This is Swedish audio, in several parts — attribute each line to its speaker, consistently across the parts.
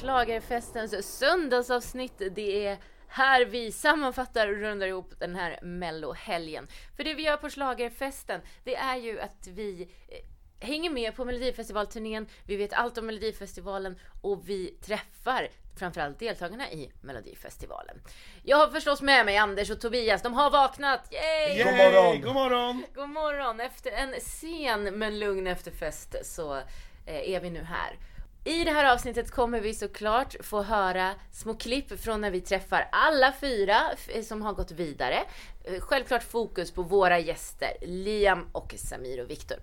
Speaker 1: Schlagerfestens söndagsavsnitt. Det är här vi sammanfattar och rundar ihop den här mellohelgen. För det vi gör på Schlagerfesten, det är ju att vi eh, hänger med på Melodifestivalturnén, vi vet allt om Melodifestivalen och vi träffar framförallt deltagarna i Melodifestivalen. Jag har förstås med mig Anders och Tobias, de har vaknat! Yay!
Speaker 2: God
Speaker 3: Yay,
Speaker 2: morgon.
Speaker 3: God morgon!
Speaker 1: God morgon! Efter en sen men lugn efterfest så eh, är vi nu här. I det här avsnittet kommer vi såklart få höra små klipp från när vi träffar alla fyra f- som har gått vidare. Eh, Självklart fokus på våra gäster, Liam och Samir och Viktor.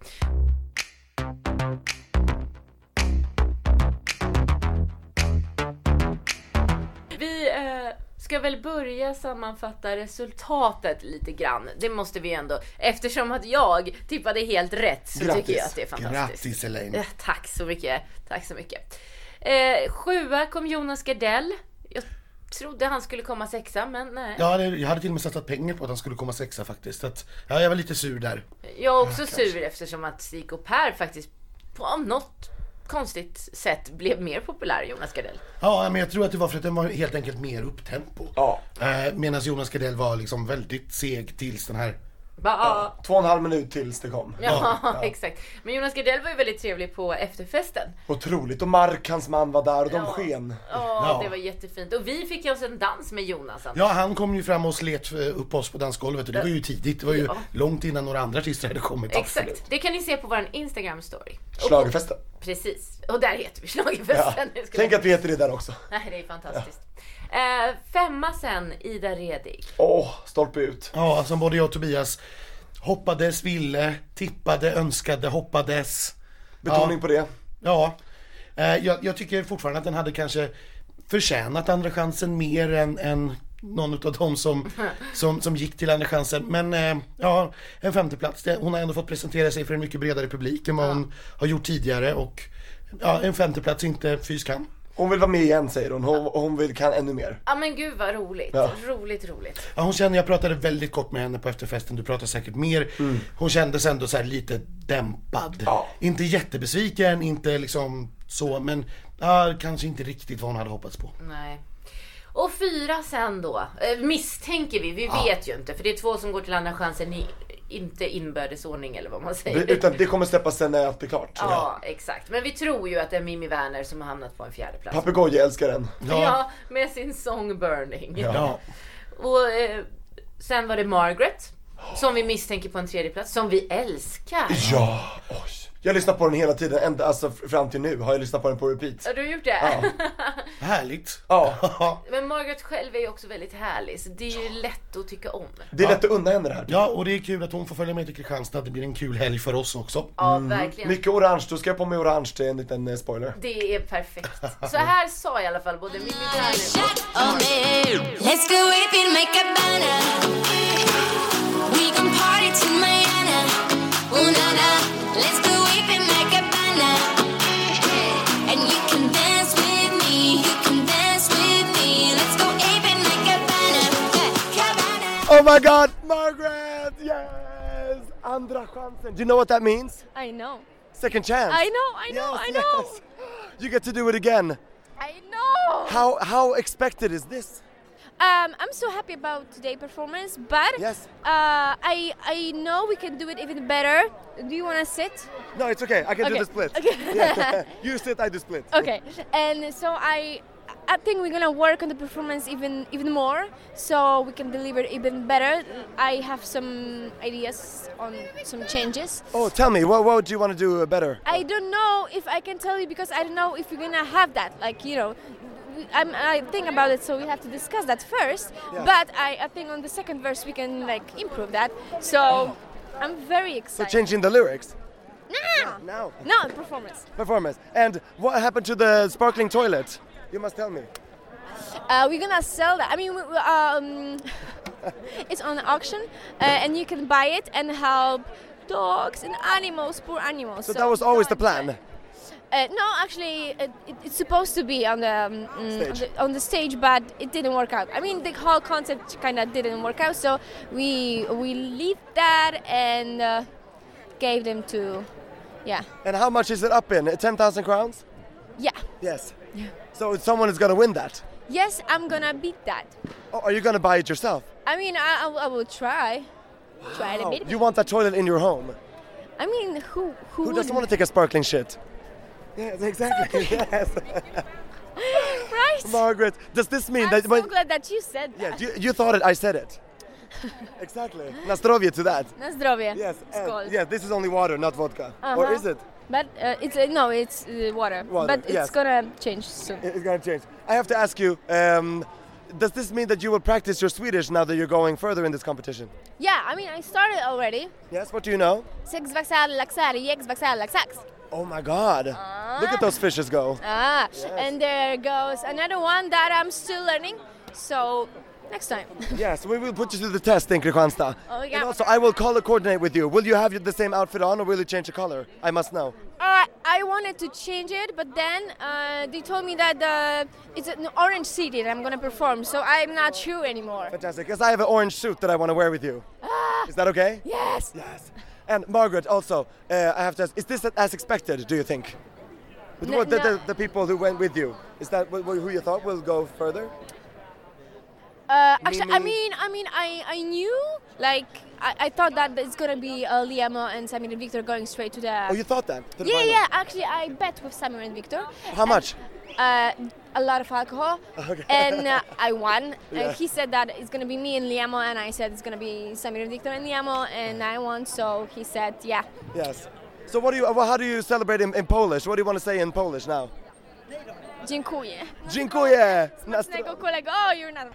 Speaker 1: Vi eh, ska väl börja sammanfatta resultatet lite grann. Det måste vi ändå, eftersom att jag tippade helt rätt så tycker jag att det är fantastiskt.
Speaker 2: Grattis Elaine!
Speaker 1: Ja, Eh, tack så mycket. Tack så mycket. Eh, sjua kom Jonas Gardell. Jag trodde han skulle komma sexa, men nej.
Speaker 2: Jag hade, jag hade till och med satsat pengar på att han skulle komma sexa faktiskt. Så att, ja, jag var lite sur där.
Speaker 1: Jag är också sur eftersom att Stig och Per faktiskt på av något konstigt sätt blev mer populär än Jonas Gardell.
Speaker 2: Ja, men jag tror att det var för att den var helt enkelt mer upptempo.
Speaker 3: Ja,
Speaker 2: Eh, Medan Jonas Gardell var liksom väldigt seg tills den här...
Speaker 1: Bara, ah.
Speaker 3: två och en halv minut tills det kom.
Speaker 1: ja, exakt. Men Jonas Gardell var ju väldigt trevlig på efterfesten.
Speaker 3: Otroligt. Och Mark, hans man, var där och de sken.
Speaker 1: Ja,
Speaker 2: Ja.
Speaker 1: det var jättefint. Och vi fick oss en dans med Jonas. Anna.
Speaker 2: Ja, han kom ju fram och slet eh, upp oss på dansgolvet och det var ju tidigt. Det var ju
Speaker 1: Ja.
Speaker 2: långt innan några andra artister hade kommit.
Speaker 1: Exakt. Det kan ni se på vår Instagram-story.
Speaker 3: Schlagerfesten.
Speaker 1: Precis. Och där heter vi
Speaker 3: Ja.
Speaker 1: Schlagerfesten. Nu ska vi-
Speaker 3: Tänk att vi heter det där också.
Speaker 1: Nej, det är fantastiskt. Eh, femma sen, Ida Redig.
Speaker 3: Åh, stolpe ut.
Speaker 2: Ja, som både jag och Tobias hoppades, ville, tippade, önskade, hoppades.
Speaker 3: Betoning på det.
Speaker 2: Ja, eh, jag, jag tycker fortfarande att den hade kanske förtjänat Andra chansen mer än, än någon utav dem som, som, som gick till Andra chansen. Men eh, ja, en femteplats. Det- Hon har ändå fått presentera sig för en mycket bredare publik än vad hon har gjort tidigare och ja, en femteplats är inte fy skam.
Speaker 3: Hon vill vara med igen säger hon. Hon, hon vill, kan ännu mer.
Speaker 1: Ja men gud vad roligt.
Speaker 3: Ja.
Speaker 1: Roligt, roligt.
Speaker 2: Ja, hon kände, jag pratade väldigt kort med henne på efterfesten, du pratar säkert mer. Hon kändes ändå så här lite dämpad.
Speaker 3: Ja.
Speaker 2: Inte jättebesviken, inte liksom så, men ja, kanske inte riktigt vad hon hade hoppats på.
Speaker 1: Nej. Och fyra sen då. Eh, misstänker vi, vi vet ju inte. För det är två som går till andra chansen i inte inbördes ordning eller vad man säger.
Speaker 3: Det, utan det kommer släppas sen när allt är klart.
Speaker 1: Ja, exakt. Men vi tror ju att det är Mimmi Werner som har hamnat på en fjärde plats.
Speaker 3: Papegoja älskar den.
Speaker 1: Ja. med sin sång Burning.
Speaker 2: Ja.
Speaker 1: Och eh, sen var det Margaret. Som vi misstänker på en tredje plats. Som vi älskar.
Speaker 3: Ja, oj. Jag lyssnar på den hela tiden, ända, alltså f- fram till nu har jag lyssnat på den på repeat.
Speaker 1: Ja, du har gjort det?
Speaker 2: Härligt.
Speaker 3: Ja,
Speaker 1: Men Margaret själv är ju också väldigt härlig, så det är ju lätt att tycka om.
Speaker 2: Mm.
Speaker 3: det är lätt att unna henne det här.
Speaker 2: Ja, och det är kul att hon får följa med till Kristianstad. Det blir en kul helg för oss också.
Speaker 1: Ja, verkligen.
Speaker 3: Mycket orange, då ska jag på mig orange, det är en liten eh, spoiler.
Speaker 1: Det är perfekt. Så här sa i alla fall både Mimmi Werner
Speaker 4: Shut up, Let's go ape and make a banner. We can party till Mañana. Ooh, na, na. Let's go ape and make a banner. And you can dance with me. You can dance with me. Let's go ape and make a banner. Yeah, cabana.
Speaker 3: Oh my god, Margaret! Yes! Andra chansen. Do you know what that means?
Speaker 5: I know.
Speaker 3: Second chance.
Speaker 5: I know, I know, I know.
Speaker 3: yes. You get to do it again.
Speaker 5: I know.
Speaker 3: How how expected is this?
Speaker 5: Um, I'm so happy about today performance, but
Speaker 3: Yes.
Speaker 5: uh, I I know we can do it even better. Do you want to sit?
Speaker 3: No, it's okay. I can do
Speaker 5: Okay,
Speaker 3: the split.
Speaker 5: okay.
Speaker 3: Yeah. you sit, I do split.
Speaker 5: Okay. And so I I think we're gonna work on the performance even even more, so we can deliver even better. I have some ideas on some changes.
Speaker 3: Oh, tell me, what what do you want to do uh, better?
Speaker 5: I don't know if I can tell you because I don't know if we're gonna have that. Like you know, we- I'm, I think about it, so we have to discuss that first.
Speaker 3: Yeah.
Speaker 5: But I, I think on the second verse we can like improve that. So I'm very
Speaker 3: So
Speaker 5: excited.
Speaker 3: changing the lyrics.
Speaker 5: no, no,
Speaker 3: Now
Speaker 5: no performance.
Speaker 3: performance. And what happened to the sparkling toilet? You must tell me.
Speaker 5: Uh, we're gonna sell that. I mean, we, we- um, it's on auction, uh, and you can buy it and help dogs and animals, poor animals.
Speaker 3: So, that was always the
Speaker 5: no, it's-
Speaker 3: plan.
Speaker 5: Uh, no, actually, it, it, it's supposed to be on the, um, mm, on
Speaker 3: Stage.
Speaker 5: the on the stage, but it didn't work out. I mean, the whole concept kind of didn't work out, so we we leave that and uh, gave them to, yeah,
Speaker 3: And how much is it up in? 10,000 crowns?
Speaker 5: yeah.
Speaker 3: Yes. Yeah. So someone is going to win that.
Speaker 5: Yes, I'm gonna beat that.
Speaker 3: Oh, are you going to buy it yourself?
Speaker 5: I mean, I, I, will- I will try. Try a
Speaker 3: Oh,
Speaker 5: bit.
Speaker 3: you want that toilet in your home?
Speaker 5: I mean, who who,
Speaker 3: Who
Speaker 5: wouldn't,
Speaker 3: doesn't want to take a sparkling shit? Yes, exactly. yes.
Speaker 5: right?
Speaker 3: Margaret, does this mean
Speaker 5: I'm
Speaker 3: that
Speaker 5: so
Speaker 3: when
Speaker 5: glad that you said that.
Speaker 3: Yeah, you, you thought it, I said it. exactly. Nastrovia to that.
Speaker 5: Na zdrowie.
Speaker 3: Yes.
Speaker 5: Skål.
Speaker 3: And, yeah, this is only water, not vodka. Or
Speaker 5: Uh-huh.
Speaker 3: is it?
Speaker 5: But uh, it's uh, no, it's uh, water.
Speaker 3: Water,
Speaker 5: But it's
Speaker 3: yes.
Speaker 5: gonna change soon.
Speaker 3: I- It's gonna change. I have to ask you, um, does this mean that you will practice your Swedish now that you're going further in this competition?
Speaker 5: Yeah, I mean, I started already.
Speaker 3: Yes, what do you know?
Speaker 5: Sex vaxal laxar, yex vaxal laxax.
Speaker 3: Oh my god.
Speaker 5: Uh-huh.
Speaker 3: Look at those fishes go.
Speaker 5: Ah, and there goes another one that I'm still learning. So next time.
Speaker 3: yes, we will put you to the test in Kristianstad.
Speaker 5: Oh, yeah.
Speaker 3: And also, I will color coordinate with you. Will you have the same outfit on or will you change the color? I must know.
Speaker 5: uh, I wanted to change it, but then uh, they told me that uh, it's an orange city that I'm gonna perform, so I'm not sure anymore.
Speaker 3: Fantastic, because I have an orange suit that I want to wear with you.
Speaker 5: Ah!
Speaker 3: Is that okay?
Speaker 5: Yes.
Speaker 3: Yes. And Margaret, also, uh, I have to ask, is this as expected, do you think? With
Speaker 5: No-
Speaker 3: what, the,
Speaker 5: no.
Speaker 3: the, the people who went with you, is that wh- wh- who you thought will go further?
Speaker 5: Uh, actually, I
Speaker 3: Mimi.
Speaker 5: mean, I mean, I, I knew like I, I thought that it's gonna be uh, Liamo and Samir and Victor going straight to the.
Speaker 3: Oh, you thought that? to the
Speaker 5: yeah,
Speaker 3: final.
Speaker 5: yeah. Actually, I bet with Samir and Victor.
Speaker 3: How much?
Speaker 5: Uh, a lot of alcohol,
Speaker 3: Okay.
Speaker 5: and uh, I won.
Speaker 3: Yeah.
Speaker 5: And he said that it's gonna be me and Liamo, and I said it's gonna be Samir and Victor and Liamo, and I won. So he said, yeah.
Speaker 3: Yes. So what do you, well, how do you celebrate in, in Polish? What do you want to say in Polish now?
Speaker 5: Dziękuję.
Speaker 3: Dziękuję!
Speaker 5: Smacznego kolego. Oh, you're not.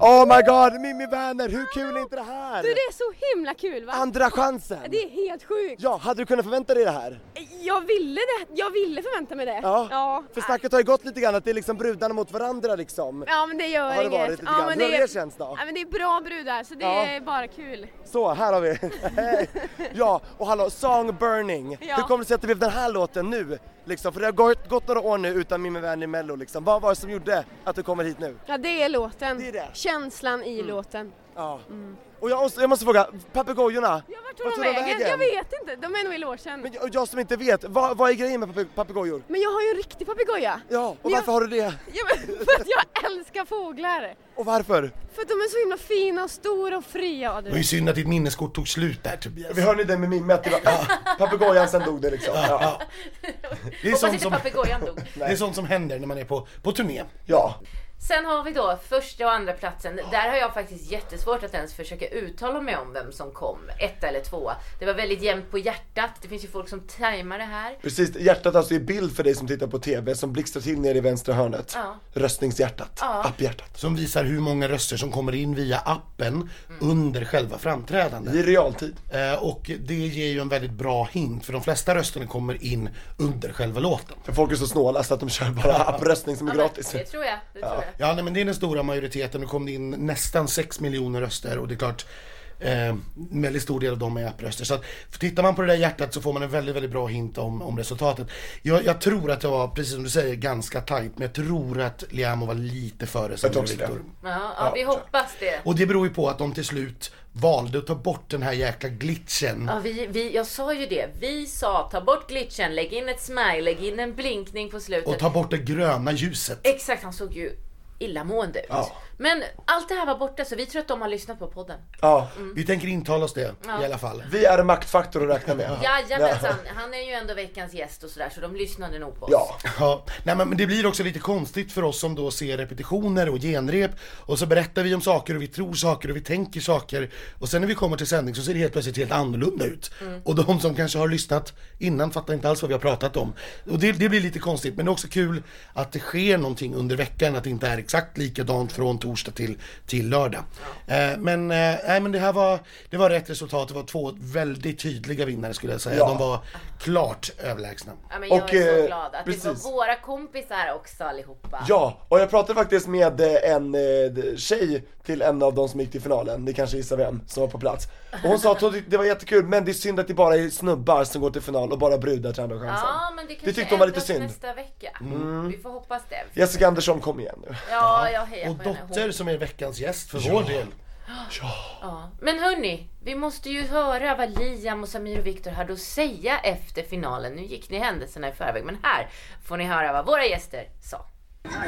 Speaker 3: Oh my god, Mimmi Werner, hur kul är inte det här?
Speaker 6: Du, det är så himla kul va?
Speaker 3: Andra chansen!
Speaker 6: Det är helt sjukt.
Speaker 3: Ja, hade du kunnat förvänta dig det här?
Speaker 6: Jag ville det. Jag ville förvänta mig det.
Speaker 3: Ja,
Speaker 6: Ja,
Speaker 3: för snacket har ju gått lite grann att det är liksom brudarna mot varandra liksom.
Speaker 6: ja men det gör
Speaker 3: Har det
Speaker 6: inget.
Speaker 3: varit lite
Speaker 6: ja,
Speaker 3: grann?
Speaker 6: men
Speaker 3: Hur har
Speaker 6: det,
Speaker 3: det känts då?
Speaker 6: Ja, men det är bra brudar så det
Speaker 3: Ja.
Speaker 6: är bara kul.
Speaker 3: Så, här har vi. ja, och hallå, Song Burning.
Speaker 6: Ja.
Speaker 3: Hur kommer det sig att det blev den här låten nu? Liksom, för det har gått, gått några år nu utan Mimmi Werner i Mello liksom. Vad var det som gjorde att du kommer hit nu?
Speaker 6: Ja det är låten.
Speaker 3: Det Mm. är det.
Speaker 6: Känslan i låten.
Speaker 3: Ja. Och jag, måste- jag måste fråga, papegojorna?
Speaker 6: Mm. Ja, vart
Speaker 3: Vart
Speaker 6: tog
Speaker 3: tog
Speaker 6: de
Speaker 3: de
Speaker 6: vägen?
Speaker 3: vägen?
Speaker 6: Jag vet inte. De är nog i logen. Men,
Speaker 3: Men jag, jag som inte vet, vad, vad är grejen med pape- papegojor?
Speaker 6: jag har ju en riktig papegoja.
Speaker 3: Ja, och
Speaker 6: Men
Speaker 3: varför har du det?
Speaker 6: Jag, ja, men, för att jag älskar fåglar.
Speaker 3: Och varför?
Speaker 6: För att de är så himla fina och stora och fria. Ja,
Speaker 2: Det var
Speaker 6: du.
Speaker 2: ju synd att ditt minneskort tog slut där Tobias.
Speaker 3: Vi hörde ju det med Mimmi att det var, papegojan sen dog det liksom. Ja.
Speaker 2: Det är
Speaker 1: Hoppas
Speaker 2: sånt
Speaker 1: inte
Speaker 2: som,
Speaker 1: papegojan dog.
Speaker 2: det är sånt som händer när man är på, på turné.
Speaker 3: ja.
Speaker 1: Sen har vi då första och andra platsen. Där har jag faktiskt jättesvårt att ens försöka uttala mig om vem som kom. Ett eller två. Det var väldigt jämnt på hjärtat. Det finns ju folk som tajmar det här.
Speaker 3: Precis, hjärtat alltså är bild för dig som tittar på TV som blixtrar till nere i vänstra hörnet.
Speaker 1: Ja.
Speaker 3: Röstningshjärtat, apphjärtat.
Speaker 2: Som visar hur många röster som kommer in via appen under själva framträdandet.
Speaker 3: I realtid.
Speaker 2: Eh, Och det ger ju en väldigt bra hint för de flesta rösterna kommer in under själva låten.
Speaker 3: För folk är så snåla så att de kör bara appröstning som är gratis.
Speaker 1: Det tror jag. Det tror jag.
Speaker 2: Ja, nej, men det är den stora majoriteten. Nu kom det in nästan 6 miljoner röster och det är klart Eh, en väldigt stor del av dem är appröster. Så att, för tittar man på det där hjärtat så får man en väldigt, väldigt bra hint om, om resultatet. Jag, jag tror att det var, precis som du säger, ganska tajt. Men jag tror att Liamo var lite före
Speaker 3: Jag tror
Speaker 2: Samir
Speaker 3: också det.
Speaker 2: Viktor.
Speaker 1: Ja, ja, vi hoppas det.
Speaker 2: Och det beror ju på att de till slut valde att ta bort den här jäkla glitchen.
Speaker 1: Ja, vi, vi, jag sa ju det. Vi sa ta bort glitchen, lägg in ett smile, lägg in en blinkning på slutet.
Speaker 2: Och ta bort det gröna ljuset.
Speaker 1: Exakt, han såg ju illamående ut.
Speaker 3: Ja.
Speaker 1: Men allt det här var borta så vi tror att de har lyssnat på podden.
Speaker 3: Ja.
Speaker 1: Mm.
Speaker 2: Vi tänker intala oss det i alla fall.
Speaker 3: Vi är en maktfaktor att räkna med.
Speaker 1: Jajamensan, han är ju ändå veckans gäst och sådär så de lyssnade nog på oss.
Speaker 3: Ja.
Speaker 2: Ja, nej men det blir också lite konstigt för oss som då ser repetitioner och genrep och så berättar vi om saker och vi tror saker och vi tänker saker och sen när vi kommer till sändning så ser det helt plötsligt helt annorlunda ut. Och de som kanske har lyssnat innan fattar inte alls vad vi har pratat om. Och det, det blir lite konstigt men det är också kul att det sker någonting under veckan, att det inte är exakt likadant från torsdag till, till lördag. Eh, men, eh, nej, men det här var, det var rätt resultat, det var två väldigt tydliga vinnare skulle jag säga.
Speaker 3: Ja.
Speaker 2: De var klart överlägsna.
Speaker 1: Ja, men jag
Speaker 3: Och,
Speaker 1: är
Speaker 3: eh,
Speaker 1: så glad att
Speaker 3: precis.
Speaker 1: det var våra kompisar också allihopa.
Speaker 3: Ja, och jag pratade faktiskt med eh, en eh, tjej till en av de som gick till finalen, ni kanske gissar vem, som var på plats. Och hon sa att hon- det var jättekul, men det är synd att det bara är snubbar som går till final och bara brudar till andra chansen.
Speaker 1: Ja, men det kanske
Speaker 3: tyckte hon var lite
Speaker 1: ändras
Speaker 3: synd. Mm.
Speaker 1: nästa vecka. Vi får hoppas det.
Speaker 3: Jessica Andersson, kom igen nu.
Speaker 1: Ja, jag hejar
Speaker 2: Och
Speaker 1: på henne. Hon-
Speaker 2: Dotter som är veckans gäst för vår del.
Speaker 1: Ja. Men hörni, vi måste ju höra vad Liam och Samir och Viktor hade att säga efter finalen. Nu gick ni händelserna i förväg, men här får ni höra vad våra gäster sa.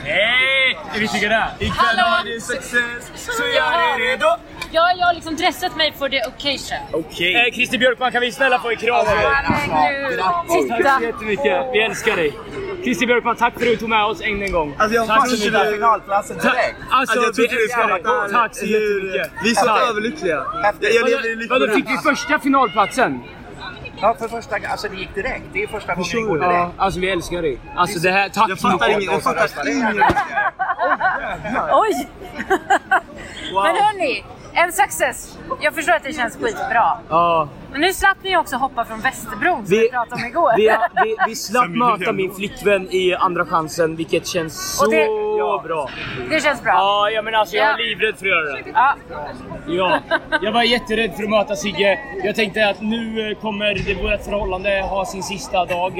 Speaker 7: Hej! Är vi triggade? Ikväll
Speaker 8: Hallå!
Speaker 7: är det success, så jag är redo!
Speaker 8: Ja, jag har liksom dressat mig för the occasion.
Speaker 7: Okej. Eh, Christer Björkman, kan vi snälla få en kram? Tack så jättemycket, vi älskar dig. Christer Björkman, tack för att du tog med oss än en gång.
Speaker 9: Alltså jag
Speaker 7: tack
Speaker 9: fan trodde du... finalplatsen direkt.
Speaker 7: Alltså,
Speaker 9: jag
Speaker 7: vi
Speaker 9: trodde du
Speaker 7: älskar
Speaker 9: skulle
Speaker 7: dig.
Speaker 9: vara
Speaker 7: Tack så jättemycket.
Speaker 9: Vi är så
Speaker 7: Tack.
Speaker 9: överlyckliga. Jag, jag lever i lycka
Speaker 7: Vadå, fick vi första finalplatsen?
Speaker 9: Ja, för första gången. Alltså det gick direkt. Det är första gången det går
Speaker 7: Ja,
Speaker 9: direkt.
Speaker 7: alltså vi älskar dig. Alltså det här, tack
Speaker 9: Jag
Speaker 7: så
Speaker 9: fattar
Speaker 7: mycket.
Speaker 9: inget. Jag fattar inget.
Speaker 8: Oj! Men hörni, en success. Jag förstår att det känns skitbra.
Speaker 7: Ja,
Speaker 8: Men nu slapp ni också hoppa från Västerbron som
Speaker 7: Vi-
Speaker 8: vi, pratade om igår.
Speaker 7: vi, vi, vi slapp möta min flickvän i Andra chansen, vilket känns så
Speaker 8: Och det-
Speaker 7: bra.
Speaker 8: Det känns bra.
Speaker 7: Ja, jag menar alltså jag är
Speaker 8: Ja.
Speaker 7: livrädd för att göra det.
Speaker 8: Ja.
Speaker 7: Ja, jag var jätterädd för att möta Sigge. Jag tänkte att nu eh, kommer det- vårt förhållande ha sin sista dag.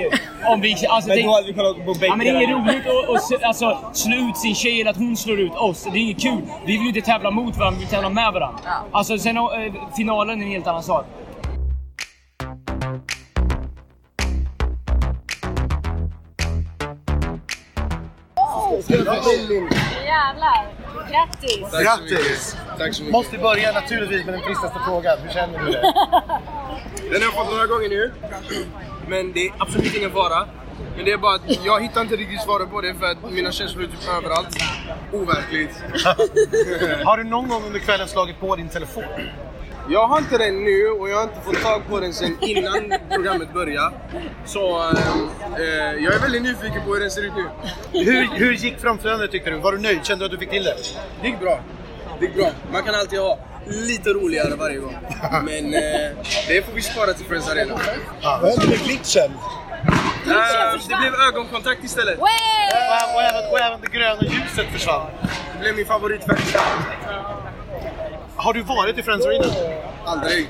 Speaker 7: Om vi, alltså,
Speaker 9: Men
Speaker 7: tänk,
Speaker 9: då hade vi kollat på bänken.
Speaker 7: ja, men det är inget roligt att att se- alltså, slå ut sin tjej eller att hon slår ut oss. Det är inget kul. Vi vill ju inte tävla mot varandra, vi vill tävla med varandra. Alltså, sen eh, finalen är en helt annan sak.
Speaker 8: Jävlar. Grattis.
Speaker 9: Grattis!
Speaker 2: Måste börja naturligtvis med den tristaste frågan. Hur känner du det?
Speaker 10: Den har jag fått några gånger nu. Men det är absolut ingen fara. Men det är bara att jag hittar inte riktigt svaret på det för att mina känslor är typ överallt. Overkligt.
Speaker 2: Har du någon gång under kvällen slagit på din telefon?
Speaker 10: Jag har inte den nu och jag har inte fått tag på den sen innan programmet började. Så ehm, eh, jag är väldigt nyfiken på hur den ser ut nu.
Speaker 2: Hur, hur gick framförandet tyckte du? Var du nöjd? Kände du att du fick till det?
Speaker 10: Det gick bra. Det gick bra. Man kan alltid ha lite roligare varje gång. Men eh, det får vi spara till Friends Arena.
Speaker 9: Vad hände med glitchen?
Speaker 10: Eh, det blev ögonkontakt istället.
Speaker 8: Way!
Speaker 2: Och, och, även, och även det gröna ljuset försvann.
Speaker 10: Det blev min favoritfärg.
Speaker 2: Har du varit i Friends Arena?
Speaker 10: Aldrig.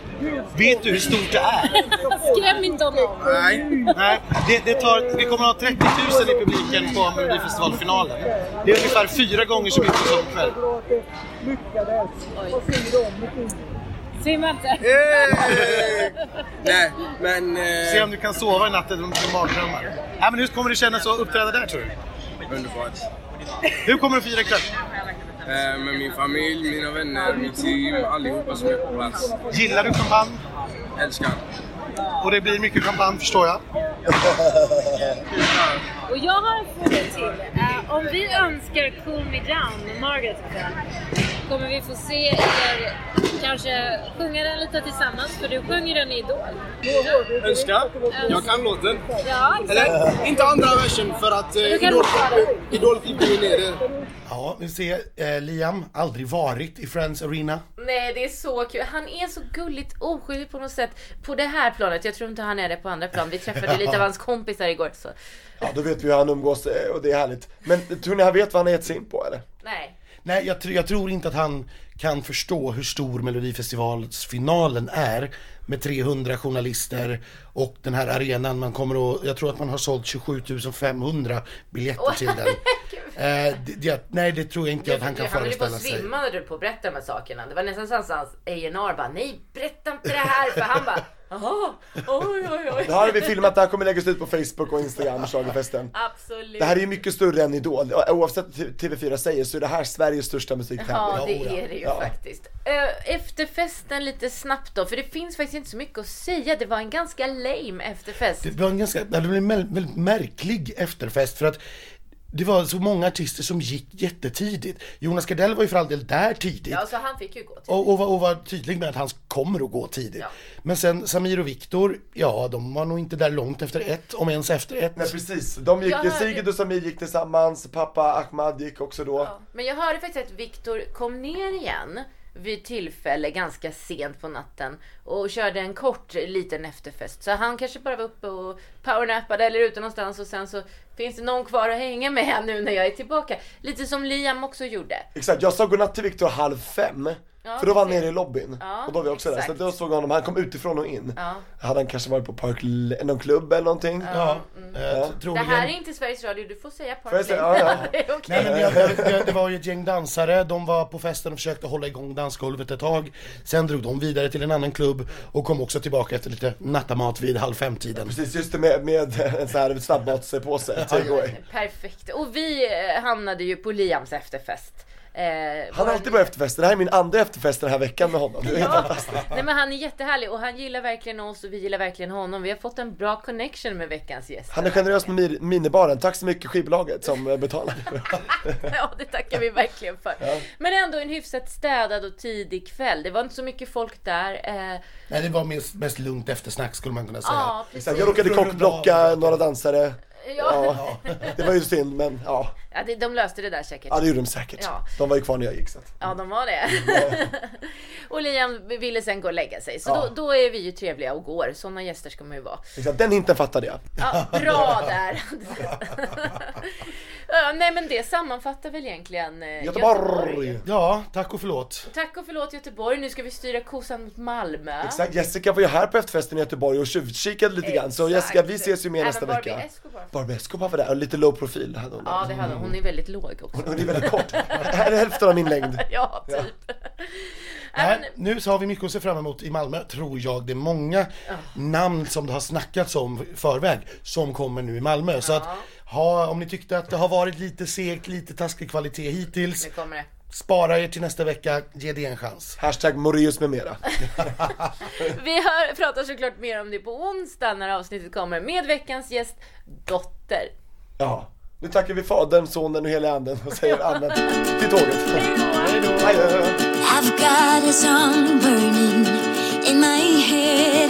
Speaker 2: Vet du hur stort det är?
Speaker 8: Skräm inte honom.
Speaker 10: Nej.
Speaker 2: Nej, det, det, tar, vi kommer att ha 30 000 i publiken på Melodifestivalfinalen. Det är ungefär fyra gånger så mycket som ikväll.
Speaker 8: Simma inte.
Speaker 10: Hey! Nej, men... eh,
Speaker 2: Se om du kan sova i natten om du har mardrömmar. Nej, men hur kommer det kännas att uppträda där tror du?
Speaker 10: Underbart.
Speaker 2: Hur kommer du fira ikväll?
Speaker 10: Eh, Med min familj, mina vänner, mitt team, allihopa som är på plats.
Speaker 2: Gillar du champagne?
Speaker 10: Älskar.
Speaker 2: Och det blir mycket champagne förstår jag.
Speaker 8: Och jag har en fråga till. Eh, om vi önskar Cool Me Down med Margaret ikväll, kommer vi få se er kanske sjunga den lite tillsammans? För du sjunger den i Idol.
Speaker 10: Önskar? Jag kan låten.
Speaker 8: Ja,
Speaker 10: Eller, inte andra versen för att eh,
Speaker 8: Du kan
Speaker 10: Idol-
Speaker 8: ropa den.
Speaker 10: Idolklipper ju ner det.
Speaker 2: Ja, vi ser eh, Liam, aldrig varit i Friends Arena.
Speaker 1: Nej, det är så kul. Han är så gulligt oskyldig på något sätt på det här planet. Jag tror inte han är det på andra plan. Vi träffade lite av hans kompisar igår. Så.
Speaker 3: Ja, då vet vi hur han umgås eh, och det är härligt. Men tror ni han vet vad han har gett sig in på eller?
Speaker 1: Nej.
Speaker 2: Nej, jag, tr- jag tror inte att han kan förstå hur stor Melodifestivalsfinalen är med 300 journalister och den här arenan man kommer att, jag tror att man har sålt 27 500 biljetter till den. Eh, det, det, nej, det tror jag inte att han kan
Speaker 1: han ville bara
Speaker 2: föreställa sig.
Speaker 1: svimma när du på att berätta de här sakerna. Det var nästan så att hans A&R bara, nej berätta inte det här. För han bara, jaha, oj oj oj.
Speaker 3: Det här har vi filmat, det här kommer läggas ut på Facebook och Instagram, schlagerfesten.
Speaker 1: Absolut.
Speaker 3: Det här är ju mycket större än Idol, O- oavsett vad TV4 säger så är det här Sveriges största musiktävling.
Speaker 1: Ja,
Speaker 2: Ja, oja.
Speaker 1: det är det ju
Speaker 3: Ja.
Speaker 1: faktiskt. Eh, Efterfesten lite snabbt då, för det finns faktiskt inte så mycket att säga. Det var en ganska lame efterfest.
Speaker 2: Det var en ganska, det blev en mär- väldigt märklig efterfest för att det var så många artister som gick jättetidigt. Jonas Gardell var ju för all del där tidigt.
Speaker 1: Ja, så han fick ju gå typ.
Speaker 3: Oh.
Speaker 1: till.
Speaker 2: Och, och, var, och var tydlig med att han kommer att gå tidigt.
Speaker 1: Ja.
Speaker 2: Men sen Samir och Viktor, ja de var nog inte där långt efter ett, om ens efter ett.
Speaker 3: Nej precis, de gick,
Speaker 1: Jag hörde-
Speaker 3: Sigrid och Samir gick tillsammans, pappa Ahmad gick också då.
Speaker 1: Ja. Men jag hörde faktiskt att Viktor kom ner igen vid tillfälle ganska sent på natten och körde en kort liten efterfest. Så han kanske bara var uppe och powernappade eller ute någonstans och sen så finns det någon kvar att hänga med nu när jag är tillbaka. Lite som Liam också gjorde.
Speaker 3: Exakt, jag sa godnatt till Viktor halv fem.
Speaker 1: Ja,
Speaker 3: För då var han
Speaker 1: precis.
Speaker 3: nere i lobbyn.
Speaker 1: Ja,
Speaker 3: och då var vi också
Speaker 1: exakt.
Speaker 3: där. Så då såg jag honom, han kom utifrån och in.
Speaker 1: Ja.
Speaker 3: Hade han kanske varit på Park, någon klubb eller någonting?
Speaker 1: Ja, mm.
Speaker 2: Eh,
Speaker 3: Ja.
Speaker 1: Det här är inte Sveriges Radio, du får säga
Speaker 3: jag
Speaker 1: Parkland.
Speaker 3: säga- ja, ja.
Speaker 1: det är okej.
Speaker 2: Nej, men jag, jag, jag, det var ju ett gäng dansare, de var på festen och försökte hålla igång dansgolvet ett tag. Sen drog de vidare till en annan klubb och kom också tillbaka efter lite nattamat vid halv femtiden.
Speaker 3: Precis, just det med, med en sån här snabbmatspåse, takeaway.
Speaker 1: Perfekt. Och vi eh, hamnade ju på Liams efterfest. Eh, vår-
Speaker 3: Han är alltid på efterfester, det här är min andra efterfest den här veckan med honom. Det är helt fantastiskt.
Speaker 1: Nej men han är jättehärlig och han gillar verkligen oss och vi gillar verkligen honom. Vi har fått en bra connection med veckans gäst.
Speaker 3: Han är generös med mir- minibaren, tack så mycket skivbolaget som eh, betalar.
Speaker 1: Ja, det tackar vi verkligen för. Men ändå en hyfsat städad och tidig kväll. Det var inte så mycket folk där. Eh,
Speaker 2: Nej, det var mest, mest lugnt eftersnack skulle man kunna säga.
Speaker 1: Ja, precis.
Speaker 3: Så här, Jag råkade kockblocka några dansare.
Speaker 1: ja.
Speaker 3: Det var ju synd, men ja,
Speaker 1: ja det, de löste det där säkert.
Speaker 3: ja det gjorde de säkert.
Speaker 1: Ja.
Speaker 3: De var ju kvar när jag gick så att.
Speaker 1: Ja, de var det. och Liam ville sen gå och lägga sig. Så
Speaker 3: Ja.
Speaker 1: då, då är vi ju trevliga och går. Sådana gäster ska man ju vara.
Speaker 3: Exakt, den hinten fattade jag.
Speaker 1: Ja, bra där! ja, nej men det sammanfattar väl egentligen eh,
Speaker 3: Göteborg!
Speaker 2: Ja, tack och förlåt.
Speaker 1: Tack och förlåt Göteborg, nu ska vi styra kosan mot Malmö.
Speaker 3: Exakt, Jessica var ju här på efterfesten i Göteborg och tjuvkikade lite grann. Så Jessica, vi ses ju mer
Speaker 1: Även
Speaker 3: nästa
Speaker 1: Barbie
Speaker 3: vecka.
Speaker 1: Escobar.
Speaker 3: Barbie Escobar var där, och lite low profil hade hon.
Speaker 1: Ja, det hade hon. Hon är väldigt låg också.
Speaker 3: Hon är väldigt kort. Här är hälften av min längd.
Speaker 1: Ja, typ.
Speaker 2: Nej, nu så har vi mycket att se fram emot i Malmö, tror jag. Det är många namn som det har snackats om i förväg som kommer nu i Malmö. Så att, ha, om ni tyckte att det har varit lite segt, lite taskig kvalitet hittills,
Speaker 1: Nu kommer det.
Speaker 2: spara er till nästa vecka, ge det en chans.
Speaker 3: Hashtag Moraeus med mera.
Speaker 1: Vi hör, pratar såklart mer om det på onsdag när avsnittet kommer med veckans gäst, Dotter.
Speaker 3: Ja. Nu tackar vi Fadern, Sonen och hela Anden och säger amen till tåget. Hej då!
Speaker 4: I've got a song burning in my head.